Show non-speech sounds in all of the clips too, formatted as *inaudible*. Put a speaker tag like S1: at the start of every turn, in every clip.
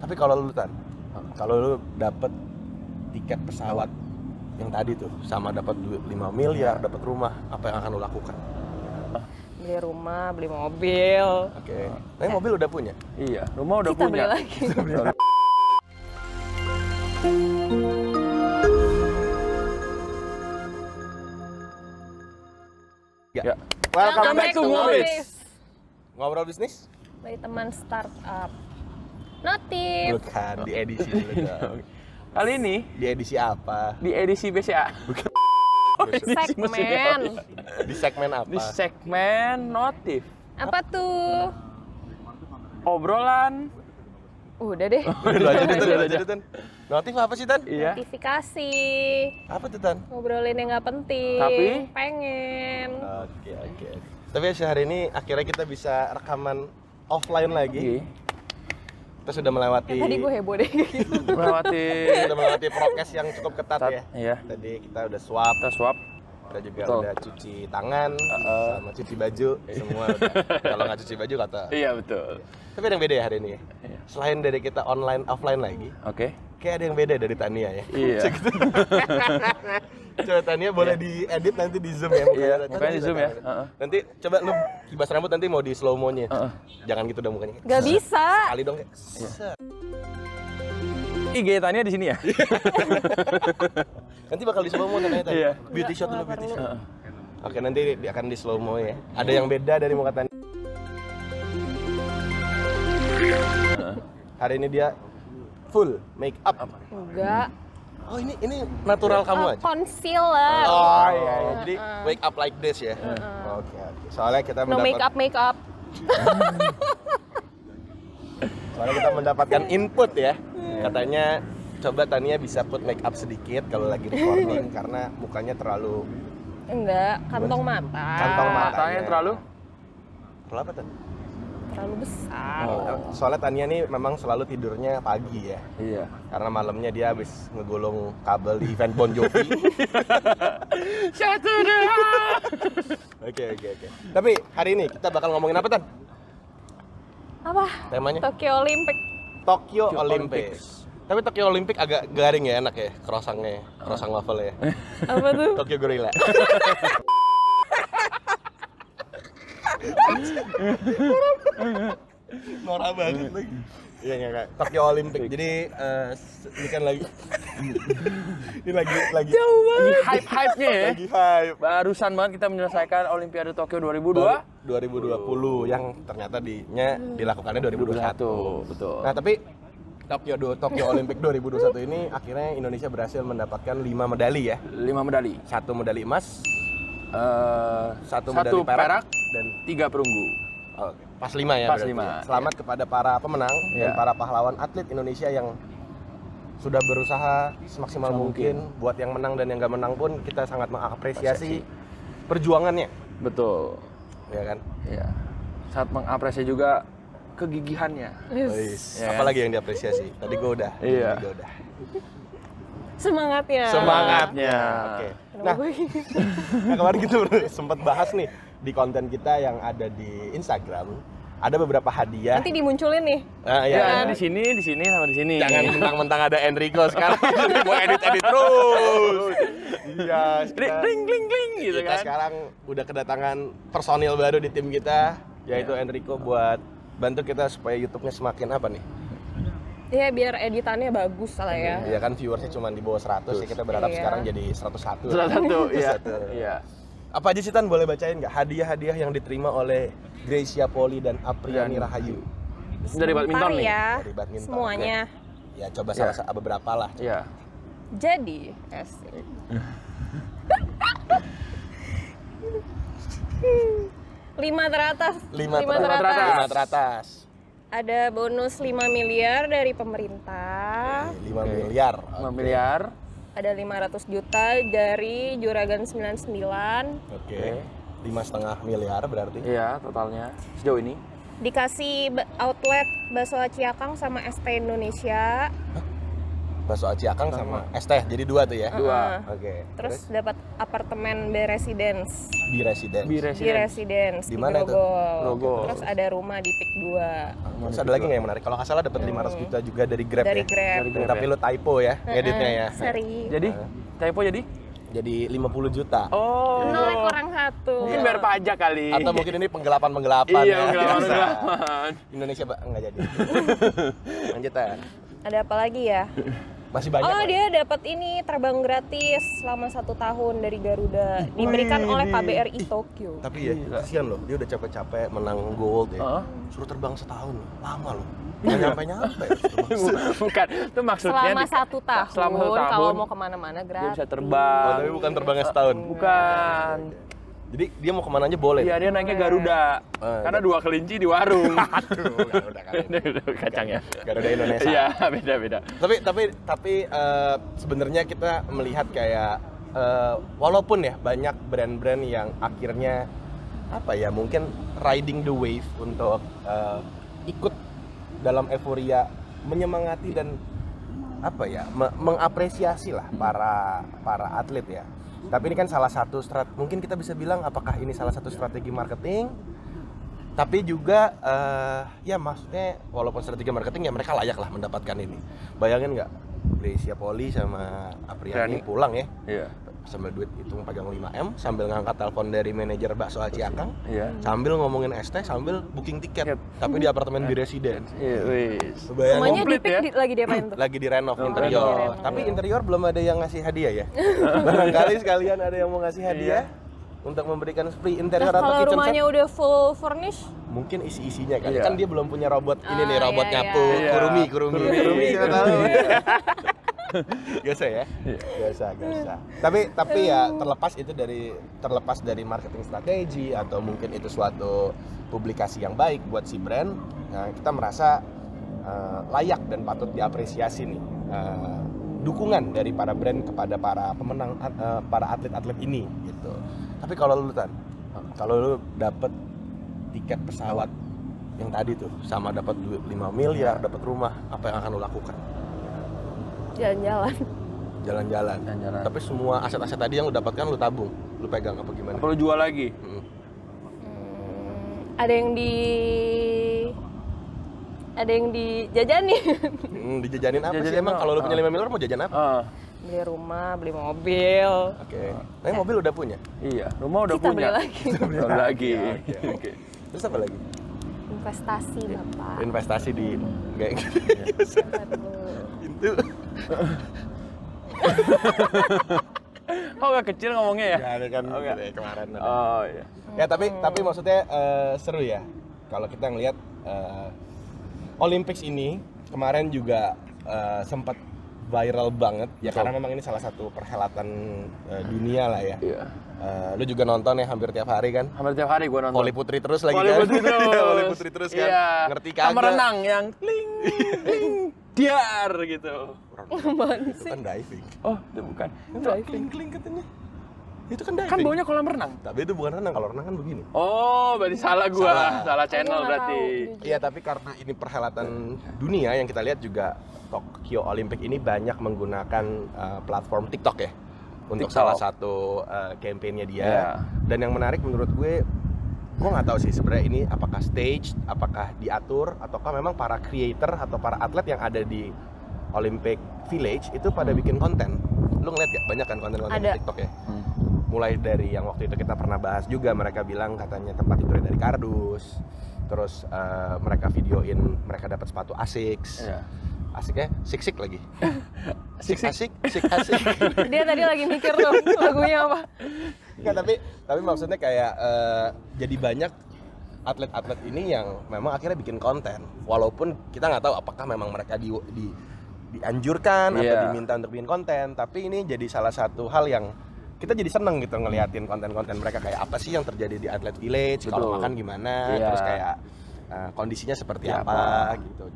S1: Tapi kalau lu tan, kalau lu dapet tiket pesawat yang tadi tuh sama dapat duit 5 miliar, dapat rumah, apa yang akan lu lakukan?
S2: beli rumah beli mobil
S1: Oke. Tapi mobil udah punya.
S3: Iya, rumah udah
S2: kita
S3: punya.
S2: beli lagi
S3: Ya.
S2: Welcome back to
S1: Ngobis.
S2: Ngobis.
S1: Ngobrol bisnis?
S2: beli teman startup notif
S1: Bukan kan, di edisi dulu dong.
S3: Kali ini
S1: Di edisi apa?
S3: di edisi BCA.
S1: Bukan.
S3: *laughs* Oh, edisi BCA.
S2: segmen
S1: Di segmen apa?
S3: Di segmen notif.
S2: apa tuh
S3: Obrolan.
S2: udah deh
S1: Lu aja deh, Tan,
S3: Iya,
S1: lu aja
S3: iya.
S1: deh, Tan. Notif apa sih, Tan?
S3: Iya.
S2: notifikasi
S1: Apa tuh, Tan?
S2: ngobrolin yang nggak penting
S3: Tapi-
S2: pengen
S1: Oke, oke. Tapi ya hari ini akhirnya kita bisa rekaman offline lagi.
S3: Iya.
S1: Kita sudah melewati
S2: tadi gue heboh deh *laughs*
S3: Melewati
S1: sudah melewati prokes yang cukup ketat ya.
S3: Iya.
S1: Tadi kita udah swab,
S3: Kita swap.
S1: kita juga
S3: Betul.
S1: udah cuci tangan,
S3: Uh-uh.
S1: sama cuci baju, semua. udah. Kalau nggak cuci baju kata.
S3: Iya betul.
S1: Tapi ada yang beda ya hari ini. ya? Selain dari kita online offline lagi,
S3: Oke.
S1: kayak ada yang beda dari Tania ya.
S3: Iya.
S1: Coba Tania boleh diedit nanti di zoom ya. mukanya.
S3: Iya,
S1: Tania
S3: mukanya di
S1: bisa
S3: zoom ya.
S1: tahu.
S3: Uh-uh.
S1: Nanti coba lu kibas rambut nanti mau di slow mo-nya.
S3: Uh-uh.
S1: Jangan gitu dong mukanya.
S2: nggak bisa
S1: Kali dong kayak.
S3: Iya.
S1: set.
S3: IG Tania di sini ya.
S1: Nanti bakal di slow mo Tania. Tania.
S3: Iya.
S1: Beauty shot dulu
S2: nggak
S1: beauty
S2: perlu.
S1: shot. Oke, nanti di- akan di slow mo ya. Ada yang beda dari muka Tania. Hari ini dia full make up.
S2: enggak
S1: Oh, ini ini natural kamu aja.
S2: Uh, concealer
S1: Oh iya, iya. jadi wake up like this ya. Oke, oke. Soalnya kita
S2: no make up
S1: mendapat,
S2: make up
S1: soalnya kita mendapatkan input ya. Katanya coba Tania bisa put make up sedikit kalau lagi recording karena mukanya terlalu
S2: enggak kantong mata
S1: Kantong mata.
S3: Matanya terlalu
S1: terlalu apa tuh?
S2: terlalu besar
S1: Oh. Soalnya Tania nih memang selalu tidurnya pagi ya.
S3: Iya.
S1: Karena malamnya dia habis ngegulung kabel di event Bon Jovi. *laughs*
S3: Satu
S1: Oke, oke, oke. Tapi hari ini kita bakal ngomongin apa, Tan?
S2: apa
S1: Temanya?
S2: Tokyo Olympic
S1: Tokyo
S3: Tokyo
S1: Olympics. Tapi Tokyo Olympic agak garing ya enak ya croissantnya, croissant waffle *laughs* ya.
S2: apa tuh
S1: Tokyo *laughs* Gorilla. Norak banget lagi. Iya iya Kak. Tokyo Olympic. Jadi eh, s- ini kan lagi *laughs* ini lagi lagi
S3: Ini hype-hype-nya ya.
S1: lagi hype.
S3: Barusan banget kita menyelesaikan Olimpiade Tokyo 2002.
S1: 2020 yang ternyata di nya dilakukannya 2021.
S3: betul.
S1: Nah, tapi Tokyo do- Tokyo Olympic 2021 ini akhirnya Indonesia berhasil mendapatkan 5 medali ya.
S3: Lima medali.
S1: Satu medali emas,
S3: Eh,
S1: satu, medali perak, dan
S3: tiga perunggu.
S1: oh, pas 5 ya.
S3: Pas
S1: berarti.
S3: lima,
S1: Selamat kepada para pemenang dan
S3: Iya.
S1: para pahlawan atlet Indonesia yang sudah berusaha semaksimal mungkin. buat yang menang dan yang nggak menang pun kita sangat mengapresiasi perjuangannya,
S3: Betul.
S1: ya kan?
S3: Ya. Saat mengapresiasi juga kegigihannya.
S1: Wis,
S3: Iya kan?
S1: Apalagi yang diapresiasi. Tadi gue udah.
S3: Iya.
S1: tadi gua udah.
S2: semangatnya
S1: Semangatnya.
S3: Iya.
S1: Oke. Nah,
S2: Kenapa gue- *laughs*
S1: Nah, kemarin kita sempat bahas nih di konten kita yang ada di Instagram ada beberapa hadiah.
S2: nanti dimunculin nih
S1: Ah, iya,
S3: Ya,
S1: iya.
S3: di sini, di sini sama di sini.
S1: Jangan mentang-mentang ada Enrico sekarang *laughs* mau edit-edit terus. Iya.
S3: Ring,
S1: Kita,
S3: ring, ring, ring, gitu
S1: kita
S3: kan.
S1: sekarang udah kedatangan personil baru di tim kita yaitu
S3: Iya.
S1: Enrico buat bantu kita supaya YouTube-nya semakin apa nih?
S2: ya biar editannya bagus lah ya
S1: Ya kan viewersnya cuma di bawah 100 ya kita berharap
S2: Iya.
S1: sekarang jadi 101.
S3: Salah satu, iya.
S1: Satu.
S3: Iya.
S1: Apa aja sih Tan boleh bacain nggak hadiah-hadiah yang diterima oleh Gracia Poli dan Apriani
S3: Dan-
S1: Rahayu
S3: Dari badminton
S2: Bentar
S3: nih.
S2: ya
S1: Dari badminton,
S2: semuanya
S1: Ya coba salah sa- beberapa lah.
S3: Iya.
S2: jadi asik. lima teratas
S1: Lima, ter-
S3: teratas.
S1: Lima teratas.
S2: ada bonus 5 miliar dari pemerintah
S1: Eh, Lima miliar.
S3: Lima miliar.
S2: ada 500 juta dari juragan 99
S1: Oke. Lima setengah miliar berarti.
S3: Iya, totalnya sejauh ini.
S2: dikasih ba- outlet bakso Ciakang sama ST Indonesia
S1: bakso aci akang sama es teh jadi dua tuh ya
S3: Dua.
S2: Heeh.
S1: oke
S2: Terus dapat apartemen B Residence
S1: di residen
S3: Bi
S2: di
S3: Residence.
S2: Residence di,
S1: Di mana itu?
S2: Grogol.
S3: Grogol.
S2: Terus ada rumah di Pik 2
S1: terus ada
S3: gitu.
S1: lagi nggak yang menarik kalau nggak salah
S3: Iya.
S1: dapat 500 juta juga dari grab
S2: dari
S1: ya
S2: Grab.
S3: Dari
S1: Nah, tapi lu typo ya ngeditnya ya
S2: Seri.
S3: Jadi
S1: Uh-huh.
S3: typo jadi?
S1: jadi 50 juta
S3: Oh.
S2: Nol kurang satu.
S3: Mungkin bayar pajak kali. *laughs*
S1: atau mungkin ini penggelapan penggelapan
S3: Iya,
S1: ya Biasa. *laughs*
S3: penggelapan-penggelapan.
S1: Indonesia Pak, nggak *laughs* jadi lanjut ya
S2: Ada apa lagi ya?
S1: masih banyak
S2: oh
S1: Pak.
S2: dia dapat ini terbang gratis selama satu tahun dari Garuda diberikan oleh KBRI Tokyo.
S1: tapi ya kasihan loh dia udah capek-capek menang gold ya
S3: Heeh.
S1: suruh terbang setahun lama loh nggak nyampe *laughs* nyampe
S3: Bukan, itu maksudnya
S2: Selama
S3: di-
S2: satu tahun,
S3: selama satu tahun,
S2: kalau mau kemana-mana
S3: dia
S2: gratis.
S3: bisa terbang.
S1: Oh, tapi bukan terbangnya setahun
S3: Bukan.
S1: jadi dia mau kemana aja boleh
S3: Iya, dia naiknya Garuda.
S1: Eh,
S3: Karena dua kelinci di warung.
S1: *laughs* Aduh, nggak
S3: *laughs*
S1: udah kali.
S3: Kacangnya.
S1: Garuda Indonesia
S3: ya. Iya, beda-beda.
S1: tapi tapi tapi eh, sebenarnya kita melihat kayak eh, walaupun ya banyak brand-brand yang akhirnya apa ya mungkin riding the wave untuk eh, ikut dalam euforia menyemangati dan apa ya me- mengapresiasi lah para para atlet ya tapi ini kan salah satu strat mungkin kita bisa bilang apakah ini salah satu strategi marketing tapi juga eh, ya maksudnya walaupun strategi marketing ya mereka layak lah mendapatkan ini bayangin nggak Gracia Poli sama Apriani
S3: Apriani. pulang
S1: pulang ya
S3: Iya.
S1: sambil duit hitung pegang 5M sambil ngangkat telepon dari manajer bakso Aci Akang
S3: Iya.
S1: sambil ngomongin ST sambil booking tiket
S3: Tiket.
S1: tapi di apartemen di residen
S3: Iya, wis.
S1: Lu bayangin,
S2: Semuanya di
S3: Komplit
S2: Pik
S3: ya.
S2: di- lagi diapain tuh?
S1: lagi di renov
S3: Oh,
S1: interior
S2: renov.
S1: tapi interior belum ada yang ngasih hadiah ya barangkali sekalian ada yang mau ngasih hadiah untuk memberikan free
S2: Nah,
S1: interior atau kitchen
S2: kalau
S1: set
S2: rumahnya udah full furnish,
S1: mungkin isi-isinya kan
S3: Iya.
S1: kan dia belum punya robot ini nih
S2: Ah,
S1: robot
S2: iya,
S1: nyapu
S3: iya.
S1: kurumi kurumi
S3: Kurumi.
S1: siapa tahu *laughs* biasa ya
S3: Iya.
S1: biasa biasa tapi tapi ya terlepas itu dari terlepas dari marketing strategi atau mungkin itu suatu publikasi yang baik buat si brand nah, kita merasa eh, layak dan patut diapresiasi nih eh, dukungan dari para brand kepada para pemenang at- eh, para atlet-atlet ini gitu tapi kalau lu tan kalau lu dapet tiket pesawat yang tadi tuh sama dapat duit 5 miliar, dapat rumah, apa yang akan lo lakukan?
S2: jalan-jalan.
S1: Jalan-jalan.
S3: Jalan-jalan.
S1: Tapi semua aset-aset tadi yang lo dapatkan lo tabung, lo pegang apa gimana?
S3: Perlu jual lagi.
S1: Hmm.
S2: Hmm, ada yang di ada yang dijajanin *laughs*
S1: Hmm, dijajanin apa sih
S3: Jajanin
S1: emang
S3: apa?
S1: kalau lo punya
S3: Ah.
S1: 5 miliar mau jajan apa?
S3: Ah,
S2: beli rumah beli mobil
S1: Oke. Tapi mobil udah punya.
S3: iya. Rumah udah
S2: kita beli
S3: punya.
S2: lagi
S3: Beli lagi.
S1: Oke,
S3: *laughs* Oke.
S1: Terus apa lagi?
S2: investasi bapak
S1: Investasi di kayak gitu. Itu.
S3: Kok nggak kecil ngomongnya ya?
S1: Ya, ada kan
S3: Oh, enggak.
S1: kemarin. ada.
S3: Oh iya.
S1: Ya tapi tapi maksudnya eh, seru ya kalau kita ngelihat eh, Olympics ini kemarin juga eh, sempat viral banget ya
S3: Betul.
S1: karena memang ini salah satu perhelatan eh, dunia lah ya.
S3: Iya.
S1: Eh, lu juga nonton ya hampir tiap hari kan?
S3: Hampir tiap hari gue nonton.
S1: Voli putri terus lagi
S3: Voli
S1: kan?
S3: putri
S1: *laughs*
S3: terus.
S1: Iya, Voli putri terus kan.
S3: Iya.
S1: Ngerti
S3: Sama
S1: kagak?
S3: renang yang kling kling diar gitu.
S1: Itu kan diving.
S3: Oh, itu bukan.
S1: Itu kling-kling katanya. Itu kan diving.
S3: Kan baunya kolam renang.
S1: Tapi itu bukan renang, kalau renang kan begini.
S3: Oh, berarti salah gua.
S1: Salah.
S3: Salah, channel
S2: nggak
S3: berarti.
S2: tahu.
S1: Iya, tapi karena ini perhelatan dunia yang kita lihat juga Tokyo Olympic ini banyak menggunakan uh, platform TikTok ya untuk
S3: TikTok.
S1: salah satu uh, campaign-nya dia.
S3: Iya.
S1: Dan yang menarik menurut gue, gue nggak tahu sih sebenarnya ini apakah stage, apakah diatur, ataukah memang para creator atau para atlet yang ada di Olympic Village itu
S3: Hmm.
S1: pada bikin konten. Lu ngeliat gak banyak kan konten-konten di
S2: Ada.
S1: TikTok ya? mulai dari yang waktu itu kita pernah bahas juga mereka bilang katanya tempat tidurnya dari kardus terus eh, mereka videoin mereka dapat sepatu Asics
S3: Iya.
S1: asik ya sik sik lagi sik
S3: Sik-sik.
S1: asik sik asik
S2: *laughs* dia tadi lagi mikir tuh lagunya apa
S3: Iya.
S1: Nggak, tapi tapi maksudnya kayak eh, jadi banyak atlet-atlet ini yang memang akhirnya bikin konten walaupun kita nggak tahu apakah memang mereka di, di- dianjurkan
S3: Iya.
S1: atau diminta untuk bikin konten tapi ini jadi salah satu hal yang kita jadi seneng gitu ngeliatin konten-konten mereka kayak apa sih yang terjadi di atlet village kalau
S3: Betul.
S1: makan gimana
S3: Iya.
S1: terus kayak eh, kondisinya seperti
S3: Iya,
S1: apa, gitu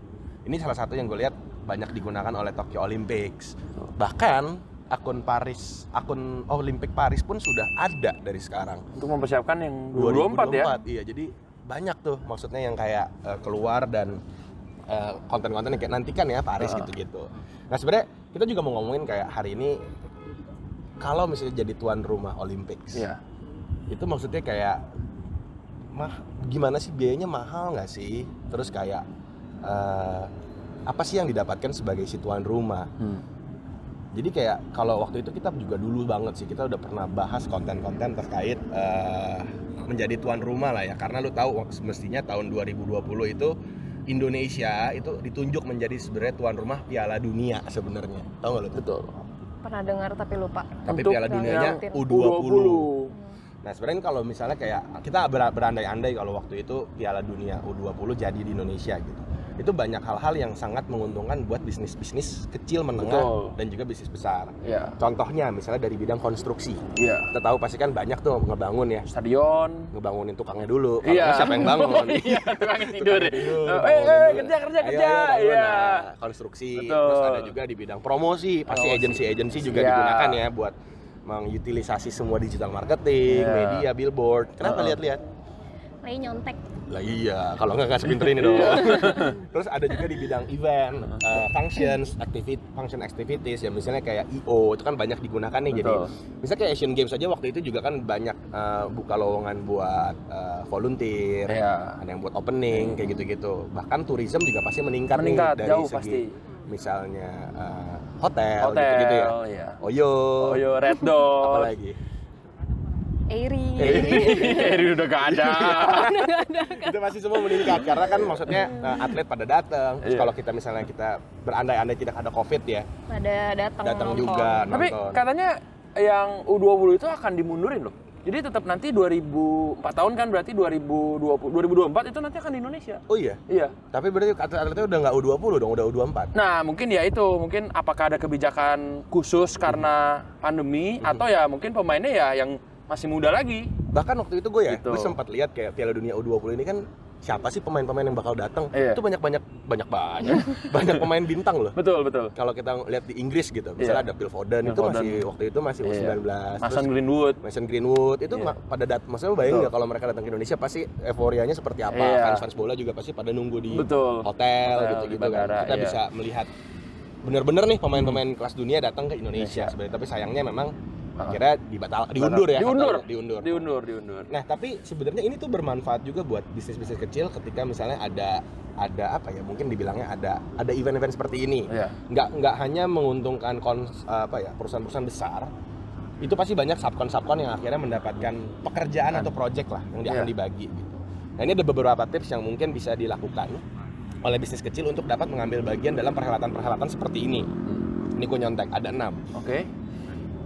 S1: ini salah satu yang gue lihat banyak digunakan oleh Tokyo Olympics
S3: Oh.
S1: bahkan akun Paris akun Olympic Paris pun sudah ada dari sekarang
S3: Untuk mempersiapkan yang 2024, ya.
S1: 2024, Iya, jadi banyak tuh maksudnya yang kayak eh, keluar dan eh, konten-konten yang kayak nantikan ya Paris
S3: Ah.
S1: gitu-gitu. Nah sebenarnya kita juga mau ngomongin kayak hari ini kalau misalnya jadi tuan rumah Olympics,
S3: Iya.
S1: itu maksudnya kayak mah gimana sih biayanya mahal nggak sih? Terus kayak eh, apa sih yang didapatkan sebagai si tuan rumah?
S3: Hmm.
S1: Jadi kayak kalau waktu itu kita juga dulu banget sih kita udah pernah bahas konten-konten terkait eh, menjadi tuan rumah lah ya karena lu tahu semestinya tahun 2020 itu Indonesia itu ditunjuk menjadi sebenarnya tuan rumah Piala Dunia sebenarnya. Tahu nggak lu?
S3: Betul.
S2: Pernah dengar tapi lupa.
S1: Tapi
S3: Untuk
S1: Piala
S2: yang
S1: Dunianya
S2: rutin.
S1: U20.
S2: Hmm.
S1: Nah sebenarnya kalau misalnya kayak kita ber- berandai-andai kalau waktu itu Piala Dunia U20 jadi di Indonesia gitu. Itu banyak hal-hal yang sangat menguntungkan buat bisnis-bisnis kecil menengah
S3: Betul.
S1: dan juga bisnis besar.
S3: Iya.
S1: Contohnya misalnya dari bidang konstruksi.
S3: Iya.
S1: Kita tahu pasti kan banyak tuh ngebangun ya.
S3: Stadion.
S1: Ngebangunin tukangnya dulu. Kalau
S3: Iya.
S1: nggak siapa yang
S3: *laughs*
S1: bangun?
S3: Iya, tukang tidur.
S1: Tukang tidur,
S3: Eh,
S1: bangunin
S3: eh,
S1: dulu.
S3: kerja, kerja,
S1: Ayo,
S3: kerja.
S1: ayo, bangun.
S3: Iya.
S1: Nah, konstruksi.
S3: Betul.
S1: Terus ada juga di bidang promosi. Pasti
S3: Promosi.
S1: agensi-agensi juga
S3: Iya.
S1: digunakan ya buat mengutilisasi semua digital marketing,
S3: Iya.
S1: media, billboard. Kenapa
S3: Heeh.
S1: lihat-lihat?
S2: Lagi Nah, nyontek.
S1: Lah iya, kalau nggak nggak sepinter
S3: *laughs*
S1: ini dong.
S3: Iya.
S1: *laughs* Terus ada juga di bidang event, eh, functions, activity, function activities ya misalnya kayak IO itu kan banyak digunakan nih jadi
S3: Betul.
S1: misalnya kayak Asian Games aja waktu itu juga kan banyak eh, buka lowongan buat eh, volunteer,
S3: Iya.
S1: ada yang buat opening kayak gitu-gitu. Bahkan tourism juga pasti meningkat, nih
S3: Meningkat
S1: dari
S3: jauh
S1: segi
S3: pasti.
S1: misalnya eh, hotel,
S3: Hotel,
S1: gitu-gitu ya.
S3: iya.
S1: Oyo,
S3: Oh, yo
S1: *laughs*
S3: Red Door.
S1: apa
S3: *laughs*
S1: lagi?
S2: Eri.
S3: Iya,
S1: Eh,
S3: Eri udah gak
S1: *laughs*
S3: ada.
S1: Iya,
S3: iya.
S1: itu pasti semua meningkat karena kan maksudnya eh, atlet pada datang. Terus
S3: Iya.
S1: kalau kita misalnya kita berandai-andai tidak ada covid ya,
S2: Ada datang.
S1: datang
S2: nonton.
S1: juga
S3: Tapi
S1: nonton.
S3: katanya yang U20 itu akan dimundurin loh. Jadi tetap nanti 2004 tahun kan berarti 2020 2024 itu nanti akan di Indonesia.
S1: Oh iya,
S3: Iya.
S1: tapi berarti atlet-atletnya udah nggak U20 dong, udah U24.
S3: Nah, mungkin ya itu, mungkin apakah ada kebijakan khusus karena pandemi atau ya mungkin pemainnya ya yang masih muda lagi.
S1: Bahkan waktu itu gue ya,
S3: Gitu.
S1: gue sempat lihat kayak Piala Dunia U20 ini kan siapa sih pemain-pemain yang bakal datang?
S3: Iya.
S1: Itu banyak-banyak banyak-banyak banyak *laughs* pemain bintang loh.
S3: Betul, betul.
S1: Kalau kita lihat di Inggris gitu, misalnya
S3: Iya.
S1: ada Phil Foden
S3: Phil
S1: itu
S3: Foden.
S1: masih waktu itu masih
S3: Iya.
S1: U19. Terus
S3: Mason Greenwood.
S1: Mason Greenwood itu
S3: Iya.
S1: ma- pada dat maksudnya lu bayangin
S3: Betul.
S1: nggak kalau mereka datang ke Indonesia pasti euforianya seperti apa
S3: Iya.
S1: fans fans bola juga pasti pada nunggu di
S3: Betul.
S1: hotel
S3: Hotel,
S1: gitu
S3: di
S1: gitu kan
S3: bandara,
S1: kita
S3: iya. Hmm.
S1: bisa melihat bener-bener nih pemain-pemain kelas dunia datang ke Indonesia sebenarnya tapi sayangnya memang akhirnya dibatal diundur ya
S3: Iya. Ah. Diundur.
S1: kata lu, diundur
S3: Diundur, diundur.
S1: nah tapi sebenarnya ini tuh bermanfaat juga buat bisnis-bisnis kecil ketika misalnya ada ada apa ya mungkin dibilangnya ada ada event-event seperti ini
S3: Iya.
S1: nggak nggak hanya menguntungkan kons- apa ya perusahaan-perusahaan besar itu pasti banyak subkon subkon yang akhirnya mendapatkan pekerjaan atau project lah yang di- akan
S3: Iya.
S1: dibagi gitu. Nah ini ada beberapa tips yang mungkin bisa dilakukan oleh bisnis kecil untuk dapat mengambil bagian dalam perhelatan-perhelatan seperti ini. Ini gue nyontek ada enam.
S3: Oke.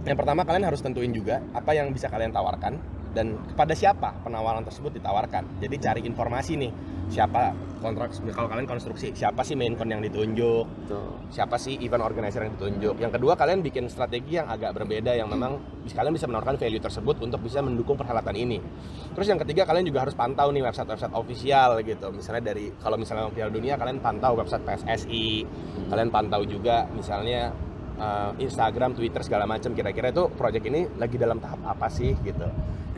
S1: Yang pertama kalian harus tentuin juga apa yang bisa kalian tawarkan dan kepada siapa penawaran tersebut ditawarkan. Jadi cari informasi nih siapa kontrak kalau kalian konstruksi siapa sih main con yang ditunjuk
S3: Betul.
S1: siapa sih event organizer yang ditunjuk. Yang kedua kalian bikin strategi yang agak berbeda yang memang bis- kalian bisa menawarkan value tersebut untuk bisa mendukung perhelatan ini. Terus yang ketiga kalian juga harus pantau nih website-website official gitu. Misalnya dari kalau misalnya Piala Dunia kalian pantau website PSSI, kalian pantau juga misalnya eh, Instagram, Twitter segala macam kira-kira itu project ini lagi dalam tahap apa sih gitu.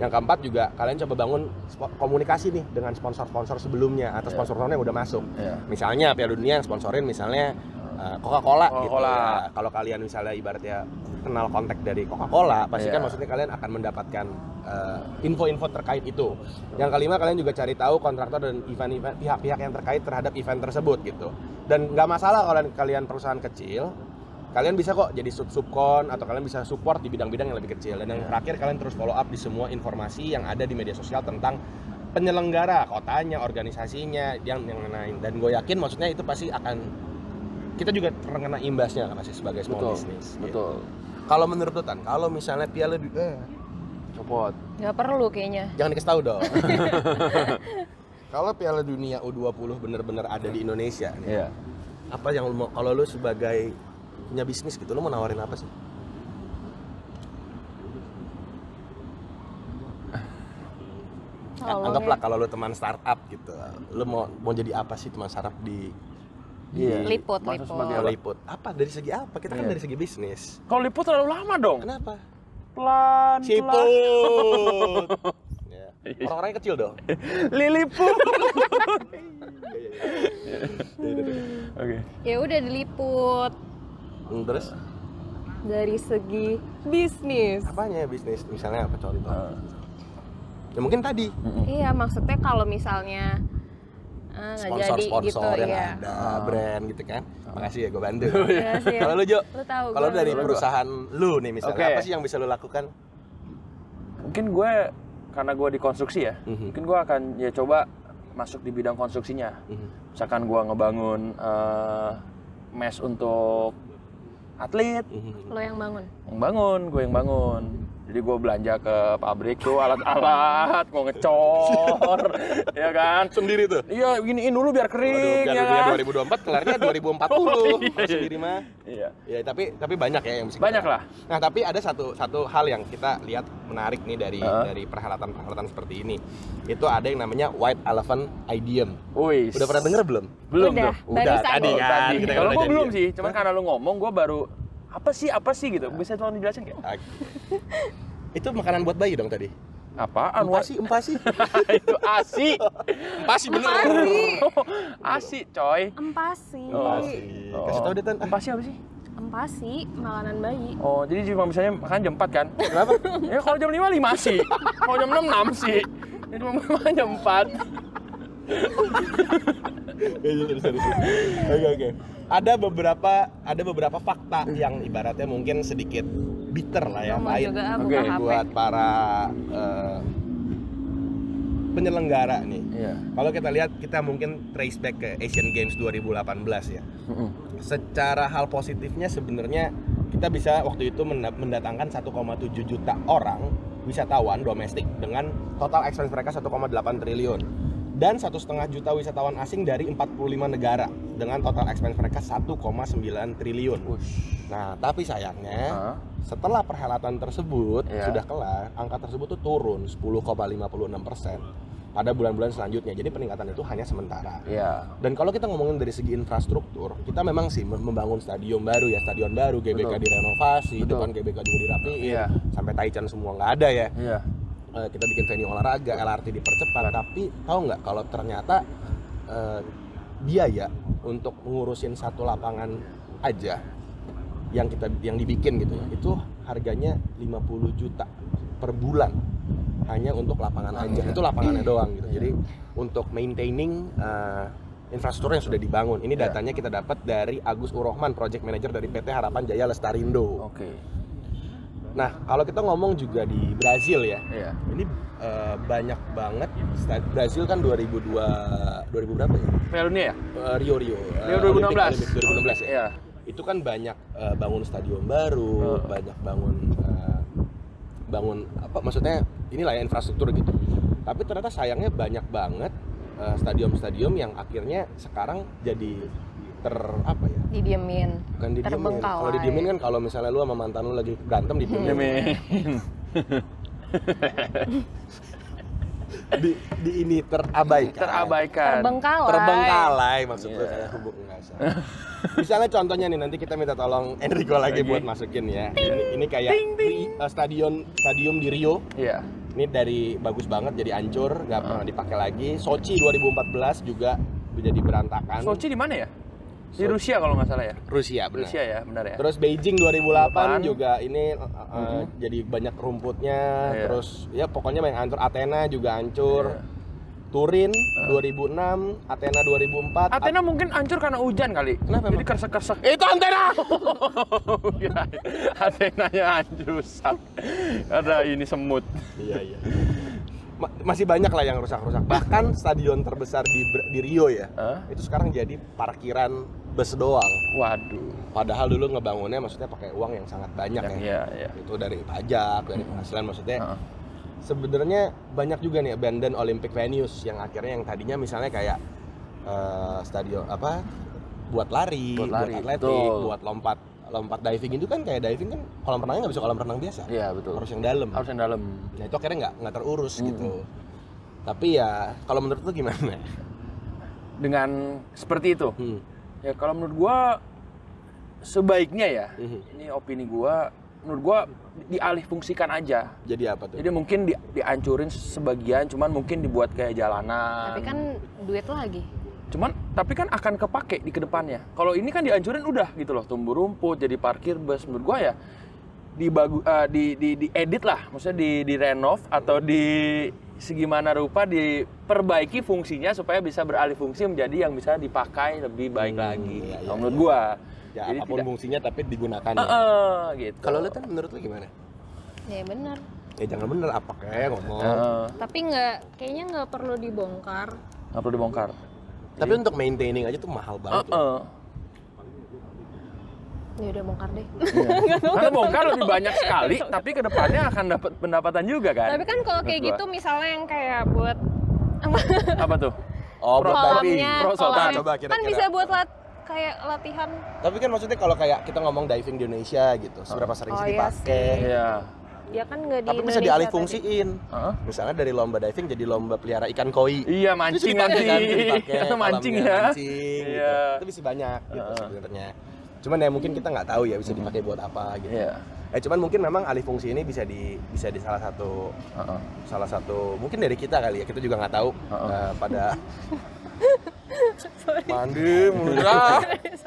S1: Yang keempat juga kalian coba bangun spo- komunikasi nih dengan sponsor-sponsor sebelumnya atau
S3: Iya.
S1: sponsor-sponsor yang udah masuk
S3: Iya.
S1: misalnya Piala Dunia yang sponsorin misalnya uh, Coca-Cola, gitu
S3: Coca-Cola.
S1: ya. Kalau kalian misalnya ibaratnya kenal kontak dari Coca-Cola, pasti kan
S3: Iya.
S1: maksudnya kalian akan mendapatkan uh, info-info terkait itu. Yang kelima kalian juga cari tahu kontraktor dan event-event pihak-pihak yang terkait terhadap event tersebut gitu. Dan nggak masalah kalau kalian perusahaan kecil, kalian bisa kok jadi sub-subkon atau kalian bisa support di bidang-bidang yang lebih kecil. Dan yang terakhir kalian terus follow up di semua informasi yang ada di media sosial tentang penyelenggara kotanya organisasinya yang yang lain dan gue yakin maksudnya itu pasti akan kita juga terkena imbasnya kan pasti sebagai small
S3: Betul.
S1: business gitu.
S3: Betul.
S1: kalau menurut lu, Tan kalau misalnya piala Du- eh,
S3: Copot.
S2: Nggak perlu kayaknya.
S1: jangan dikasih tahu dong kalau piala dunia u20 bener-bener ada di Indonesia nih,
S3: Iya.
S1: apa yang lu mau kalau lu sebagai punya bisnis gitu lu mau nawarin apa sih
S2: Tolong
S1: anggaplah
S2: ya.
S1: kalau lu teman startup gitu lu mau mau jadi apa sih teman startup di
S3: Iya.
S2: Liput, liput.
S3: Maksud sebagai apa?
S1: Hollywood apa dari segi apa kita kan
S3: Iya.
S1: dari segi bisnis
S3: Kalau liput terlalu lama dong.
S2: Kan
S1: Kenapa?
S3: Pelan, pelan.
S1: Siput. *laughs* ya.
S2: Iya.
S1: Orang-orangnya kecil
S2: *laughs*
S1: dong.
S3: Liliput.
S2: iya,
S3: Oke.
S2: ya udah diliput
S1: Hmm, Terus
S2: dari segi bisnis
S1: apanya bisnis misalnya apa contoh?
S2: Ah.
S3: Eh,
S1: Ya mungkin tadi
S2: iya maksudnya kalau misalnya ah, nggak jadi gitu
S1: sponsor-sponsor yang
S2: ya
S1: ada brand gitu kan. Makasih ya gue bantu.
S2: *laughs* Iya sih.
S1: Kalau lu Jo,
S2: lu tahu
S1: kalau
S2: gua.
S1: dari
S3: Kalau gua.
S1: perusahaan lu nih misalnya
S3: Oke.
S1: apa sih yang bisa lu lakukan?
S3: mungkin gue karena gue di konstruksi ya,
S1: Mhm.
S3: mungkin gue akan ya coba masuk di bidang konstruksinya.
S1: Mhm.
S3: Misalkan gue ngebangun eh, mes untuk atlet,
S1: Mhm.
S2: lo yang bangun
S3: yang bangun, gue yang bangun. Jadi gue belanja ke pabrik tuh alat-alat, mau ngecor,
S1: *laughs*
S3: ya kan?
S1: Sendiri tuh.
S3: Iya, giniin dulu biar kering,
S1: Waduh,
S3: ya
S1: biar
S3: kan?
S1: dunia 2024 kelarnya 2040 kalau sendiri mah.
S3: Iya,
S1: Ya tapi tapi banyak ya yang bisa. kita-
S3: banyak lah.
S1: Nah tapi ada satu satu hal yang kita lihat menarik nih dari
S3: Heeh.
S1: dari perhelatan perhelatan seperti ini. Itu ada yang namanya White Elephant Idiom.
S3: Wih,
S1: Udah pernah denger belum?
S3: belum
S2: Udah,
S3: tuh.
S2: barusan.
S1: tadi
S3: Oh,
S1: kan.
S3: tadi.
S1: Kita kan
S3: Kalau
S1: udah
S3: gue
S1: janjian.
S3: belum sih, cuman kan- karena lu ngomong gue baru apa sih apa sih gitu. Bisa tolong dijelasin nggak?
S1: Ah, Itu makanan buat bayi dong tadi.
S3: Apaan? Wak?
S1: Empasi, empasi.
S3: *laughs* itu asi.
S1: empasi
S2: Empasi.
S3: *laughs* asi, coy.
S2: empasi
S1: Empasi.
S3: Iya.
S1: Kasih tau deh Tan. Ah,
S3: Empasi apa sih?
S2: empasi makanan bayi
S3: Oh, jadi cuma misalnya makan jam 4 kan?
S1: Kenapa?
S3: *laughs* ya kalau jam 5 5 sih. Kalau jam 6 6 sih. Ya cuma *laughs* makan jam 4.
S1: Iya, sorry, sorry, sorry. Oke, oke. Ada beberapa ada beberapa fakta yang ibaratnya mungkin sedikit bitter lah ya,
S2: Ngomong
S1: pahit.
S2: juga ah,
S3: Oke,
S2: buka HP
S1: buat para eh, penyelenggara nih.
S3: Iya.
S1: Kalau kita lihat kita mungkin trace back ke Asian Games 2018 ya. Secara hal positifnya sebenarnya kita bisa waktu itu menda- mendatangkan 1,7 juta orang wisatawan domestik dengan total expense mereka 1,8 triliun dan satu setengah juta wisatawan asing dari 45 negara dengan total expense mereka 1,9 triliun.
S3: Wush.
S1: Nah, tapi sayangnya
S3: Hah?
S1: setelah perhelatan tersebut
S3: Ah. Iya.
S1: sudah kelar, angka tersebut tuh turun 10,56 pada bulan-bulan selanjutnya. Jadi peningkatan itu hanya sementara.
S3: Iya.
S1: Dan kalau kita ngomongin dari segi infrastruktur, kita memang sih mem- membangun stadion baru ya, stadion baru, GBK
S3: Betul.
S1: direnovasi,
S3: Betul.
S1: depan GBK juga dirapiin,
S3: Iya.
S1: sampai Taichan semua nggak ada ya.
S3: Iya.
S1: Eh, kita bikin venue olahraga, LRT dipercepat. Tapi tahu nggak kalau ternyata eh, biaya untuk ngurusin satu lapangan aja yang kita yang dibikin gitu ya, itu harganya 50 juta per bulan hanya untuk lapangan aja. Itu lapangannya doang gitu. Jadi untuk maintaining eh, infrastruktur yang sudah dibangun. Ini
S3: Iya.
S1: datanya kita dapat dari Agus Urohman, project manager dari PT Harapan Jaya Lestarindo.
S3: Oke.
S1: Nah, kalau kita ngomong juga di Brazil ya
S3: Iya.
S1: ini eh, banyak banget sta- Brazil kan 2002 2000 berapa ya
S3: Piala Dunia ya?
S1: Eh, Rio Rio eh,
S3: Rio
S1: Olimpik,
S3: 2016.
S1: Olimpik 2016 ya
S3: Iya.
S1: itu kan banyak eh, bangun stadion baru
S3: Oh.
S1: banyak bangun eh, bangun apa maksudnya inilah ya infrastruktur gitu tapi ternyata sayangnya banyak banget eh, stadion-stadion yang akhirnya sekarang jadi ter apa ya
S2: didiemin
S1: bukan didiemin
S2: Terbengkalai.
S1: kalau didiemin kan kalau misalnya lu sama mantan lu lagi berantem
S3: Iya,
S1: didiemin
S3: Jamin.
S1: di, di ini terabaikan
S3: *laughs* Terabaikan.
S2: terbengkalai
S1: terbengkalai maksud gue
S3: Iya.
S1: saya hubung nggak salah. misalnya contohnya nih nanti kita minta tolong Enrico lagi,
S3: Lagi.
S1: buat masukin ya ini, ini kayak Ri- eh, stadion stadium di Rio
S3: Iya.
S1: ini dari bagus banget jadi hancur nggak
S3: Ah.
S1: pernah dipakai lagi Sochi 2014 juga menjadi berantakan
S3: Sochi di mana ya?
S1: Sochi.
S3: Di Rusia kalau nggak salah ya.
S1: Rusia Anu. benar
S3: Rusia ya, benar ya.
S1: Terus Beijing 2008
S3: 2008.
S1: juga ini eh, eh, jadi banyak rumputnya,
S3: Mm-hmm. Iya.
S1: terus ya pokoknya yang hancur Athena juga hancur. Turin
S3: Ah.
S1: 2006, Athena 2004.
S3: Athena mungkin hancur karena hujan kali.
S1: Kenapa
S3: Jadi
S1: emang?
S3: kersek-kersek.
S1: Itu Athena.
S3: *laughs* Athenanya hancur rusak. Ada ini semut.
S1: iya iya. Ma- masih banyak lah yang rusak-rusak. Bahkan stadion terbesar di Br- di Rio ya.
S3: Hah?
S1: Itu sekarang jadi parkiran bus doang.
S3: Waduh.
S1: Padahal dulu ngebangunnya maksudnya pakai uang yang sangat banyak ya. Eh,
S3: Iya, iya. Hmm.
S1: Itu dari pajak, dari penghasilan maksudnya.
S3: Heeh.
S1: Sebenarnya banyak juga nih abandon Olympic venues yang akhirnya yang tadinya misalnya kayak eh, stadion apa buat lari,
S3: Buat lari,
S1: atletik,
S3: betul.
S1: buat lompat lompat diving itu kan kayak diving kan kolam renangnya nggak bisa kolam renang biasa
S3: Iya, betul.
S1: harus yang dalam
S3: Harus yang dalam.
S1: Nah itu akhirnya nggak nggak terurus
S2: Hmm.
S1: gitu. Tapi ya kalau menurut lu gimana?
S3: Dengan seperti itu.
S1: Hmm.
S3: Ya kalau menurut gua sebaiknya ya.
S1: Mhm.
S3: Ini opini gua menurut gua dialih fungsikan aja.
S1: Jadi apa tuh?
S3: Jadi mungkin di- dihancurin sebagian, cuman mungkin dibuat kayak jalanan.
S4: Tapi kan duit lagi.
S3: Cuman tapi kan akan kepake di kedepannya. Kalau ini kan dihancurin udah gitu loh, tumbuh rumput, jadi parkir bus. Menurut gua ya dibagu, eh, di, di, edit lah, maksudnya di, di renov atau di segimana rupa diperbaiki fungsinya supaya bisa beralih fungsi menjadi yang bisa dipakai lebih baik lagi.
S1: iya, iya,
S3: Kalau menurut
S1: iya.
S3: gua.
S1: ya
S3: Jadi
S1: apapun
S3: tidak-
S1: fungsinya tapi digunakan.
S3: Eh,
S1: ya.
S3: eh, gitu.
S1: Kalau lu kan menurut lu gimana?
S4: Ya benar.
S1: Ya jangan bener apa kayak ngomong.
S3: Eh,
S4: Tapi nggak, kayaknya nggak perlu dibongkar.
S3: nggak perlu dibongkar.
S1: tapi untuk maintaining aja tuh mahal
S3: Eh,
S1: banget. loh.
S3: eh.
S4: Ya udah bongkar deh.
S3: Karena bongkar lebih banyak sekali, tapi kedepannya akan dapat pendapatan juga kan.
S2: Tapi kan kalau kayak
S3: Menurut
S2: gitu misalnya yang kayak buat
S3: gua. apa tuh?
S1: Oh,
S2: *laughs*
S1: buat diving.
S4: kolamnya,
S3: Pro Sultan,
S4: kolamnya.
S1: coba kira-kira.
S2: kan bisa buat lat kayak latihan.
S1: Tapi kan maksudnya kalau kayak kita ngomong diving di Indonesia gitu, seberapa sering
S2: Oh,
S1: sih
S2: iya
S1: dipakai?
S3: Iya.
S2: Ya kan nggak di
S1: Tapi bisa
S2: Indonesia
S1: dialih
S2: tadi.
S1: fungsiin.
S3: Heeh.
S1: Misalnya dari lomba diving jadi lomba pelihara ikan koi.
S3: Iya mancing nanti. Itu *laughs* mancing
S1: kolamnya
S3: ya.
S1: Mancing, gitu.
S3: Iya.
S1: Itu bisa banyak gitu
S3: Heeh.
S1: sebenarnya. Cuman ya mungkin kita nggak tahu ya bisa dipakai buat apa gitu.
S3: Iya.
S1: Eh cuman mungkin memang alih fungsi ini bisa di bisa di salah satu
S3: Heeh.
S1: salah satu mungkin dari kita kali ya kita juga nggak tahu
S3: Heeh.
S1: eh, pada
S3: Mandi mudah.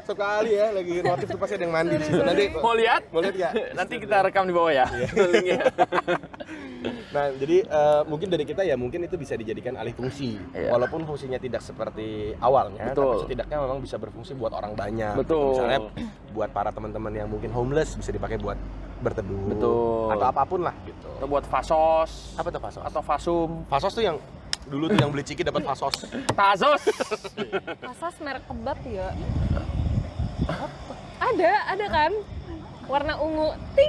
S1: sekali ya lagi notif tuh pasti ada yang mandi di situ nanti
S3: Mau lihat?
S1: mau lihat nggak?
S3: Nanti kita rekam di bawah ya. *laughs* Linknya.
S1: Nah, jadi eh, mungkin dari kita ya mungkin itu bisa dijadikan alih fungsi.
S3: Iya.
S1: Walaupun fungsinya tidak seperti awalnya, tapi
S3: Betul.
S1: setidaknya memang bisa berfungsi buat orang banyak.
S3: Betul.
S1: Misalnya buat para teman-teman yang mungkin homeless bisa dipakai buat berteduh
S3: Betul.
S1: atau apapun lah gitu.
S3: Atau buat fasos.
S1: Apa tuh fasos?
S3: Atau fasum.
S1: Fasos tuh yang dulu tuh yang beli ciki dapat fasos.
S3: Tazos.
S2: Asas merek kebab ya. Ada, ada kan? Warna ungu ting.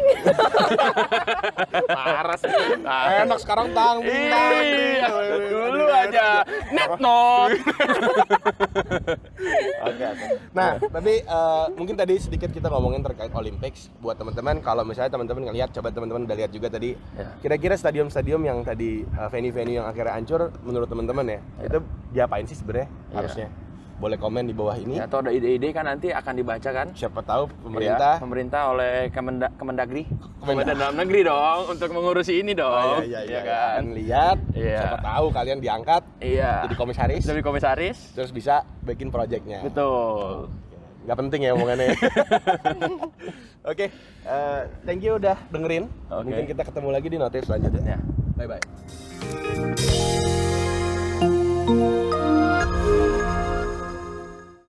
S3: Parah sih.
S1: Enak sekarang tang bintang.
S3: Iya. Ah. Dulu aja. Netnot. *laughs*
S1: Nah,
S3: Iya.
S1: tapi eh, mungkin tadi sedikit kita ngomongin terkait Olympics buat teman-teman kalau misalnya teman-teman ngelihat coba teman-teman udah lihat juga tadi
S3: Ya.
S1: kira-kira stadium-stadium yang tadi eh, venue-venue yang akhirnya hancur menurut teman-teman ya,
S3: Iya.
S1: itu diapain sih sebenarnya
S3: Ya.
S1: harusnya? Boleh komen di bawah ini.
S3: Ya, Atau ada ide-ide kan nanti akan dibaca kan?
S1: Siapa tahu
S3: Iya,
S1: pemerintah
S3: pemerintah oleh Kemenda- Kemendagri.
S1: Kemendag-
S3: Kementerian Dalam Negeri dong untuk mengurusi ini dong.
S1: Oh, iya, iya, iya,
S3: kan?
S1: lihat
S3: Iya.
S1: siapa tahu kalian diangkat
S3: Iya.
S1: jadi Ya. komisaris
S3: Jadi komisaris.
S1: terus bisa bikin projectnya
S3: Betul.
S1: nggak penting ya *laughs* omongannya. Oke, eh, thank you udah dengerin.
S3: Oke.
S1: Mungkin kita ketemu lagi di notif selanjutnya.
S3: Ya.
S1: Bye bye.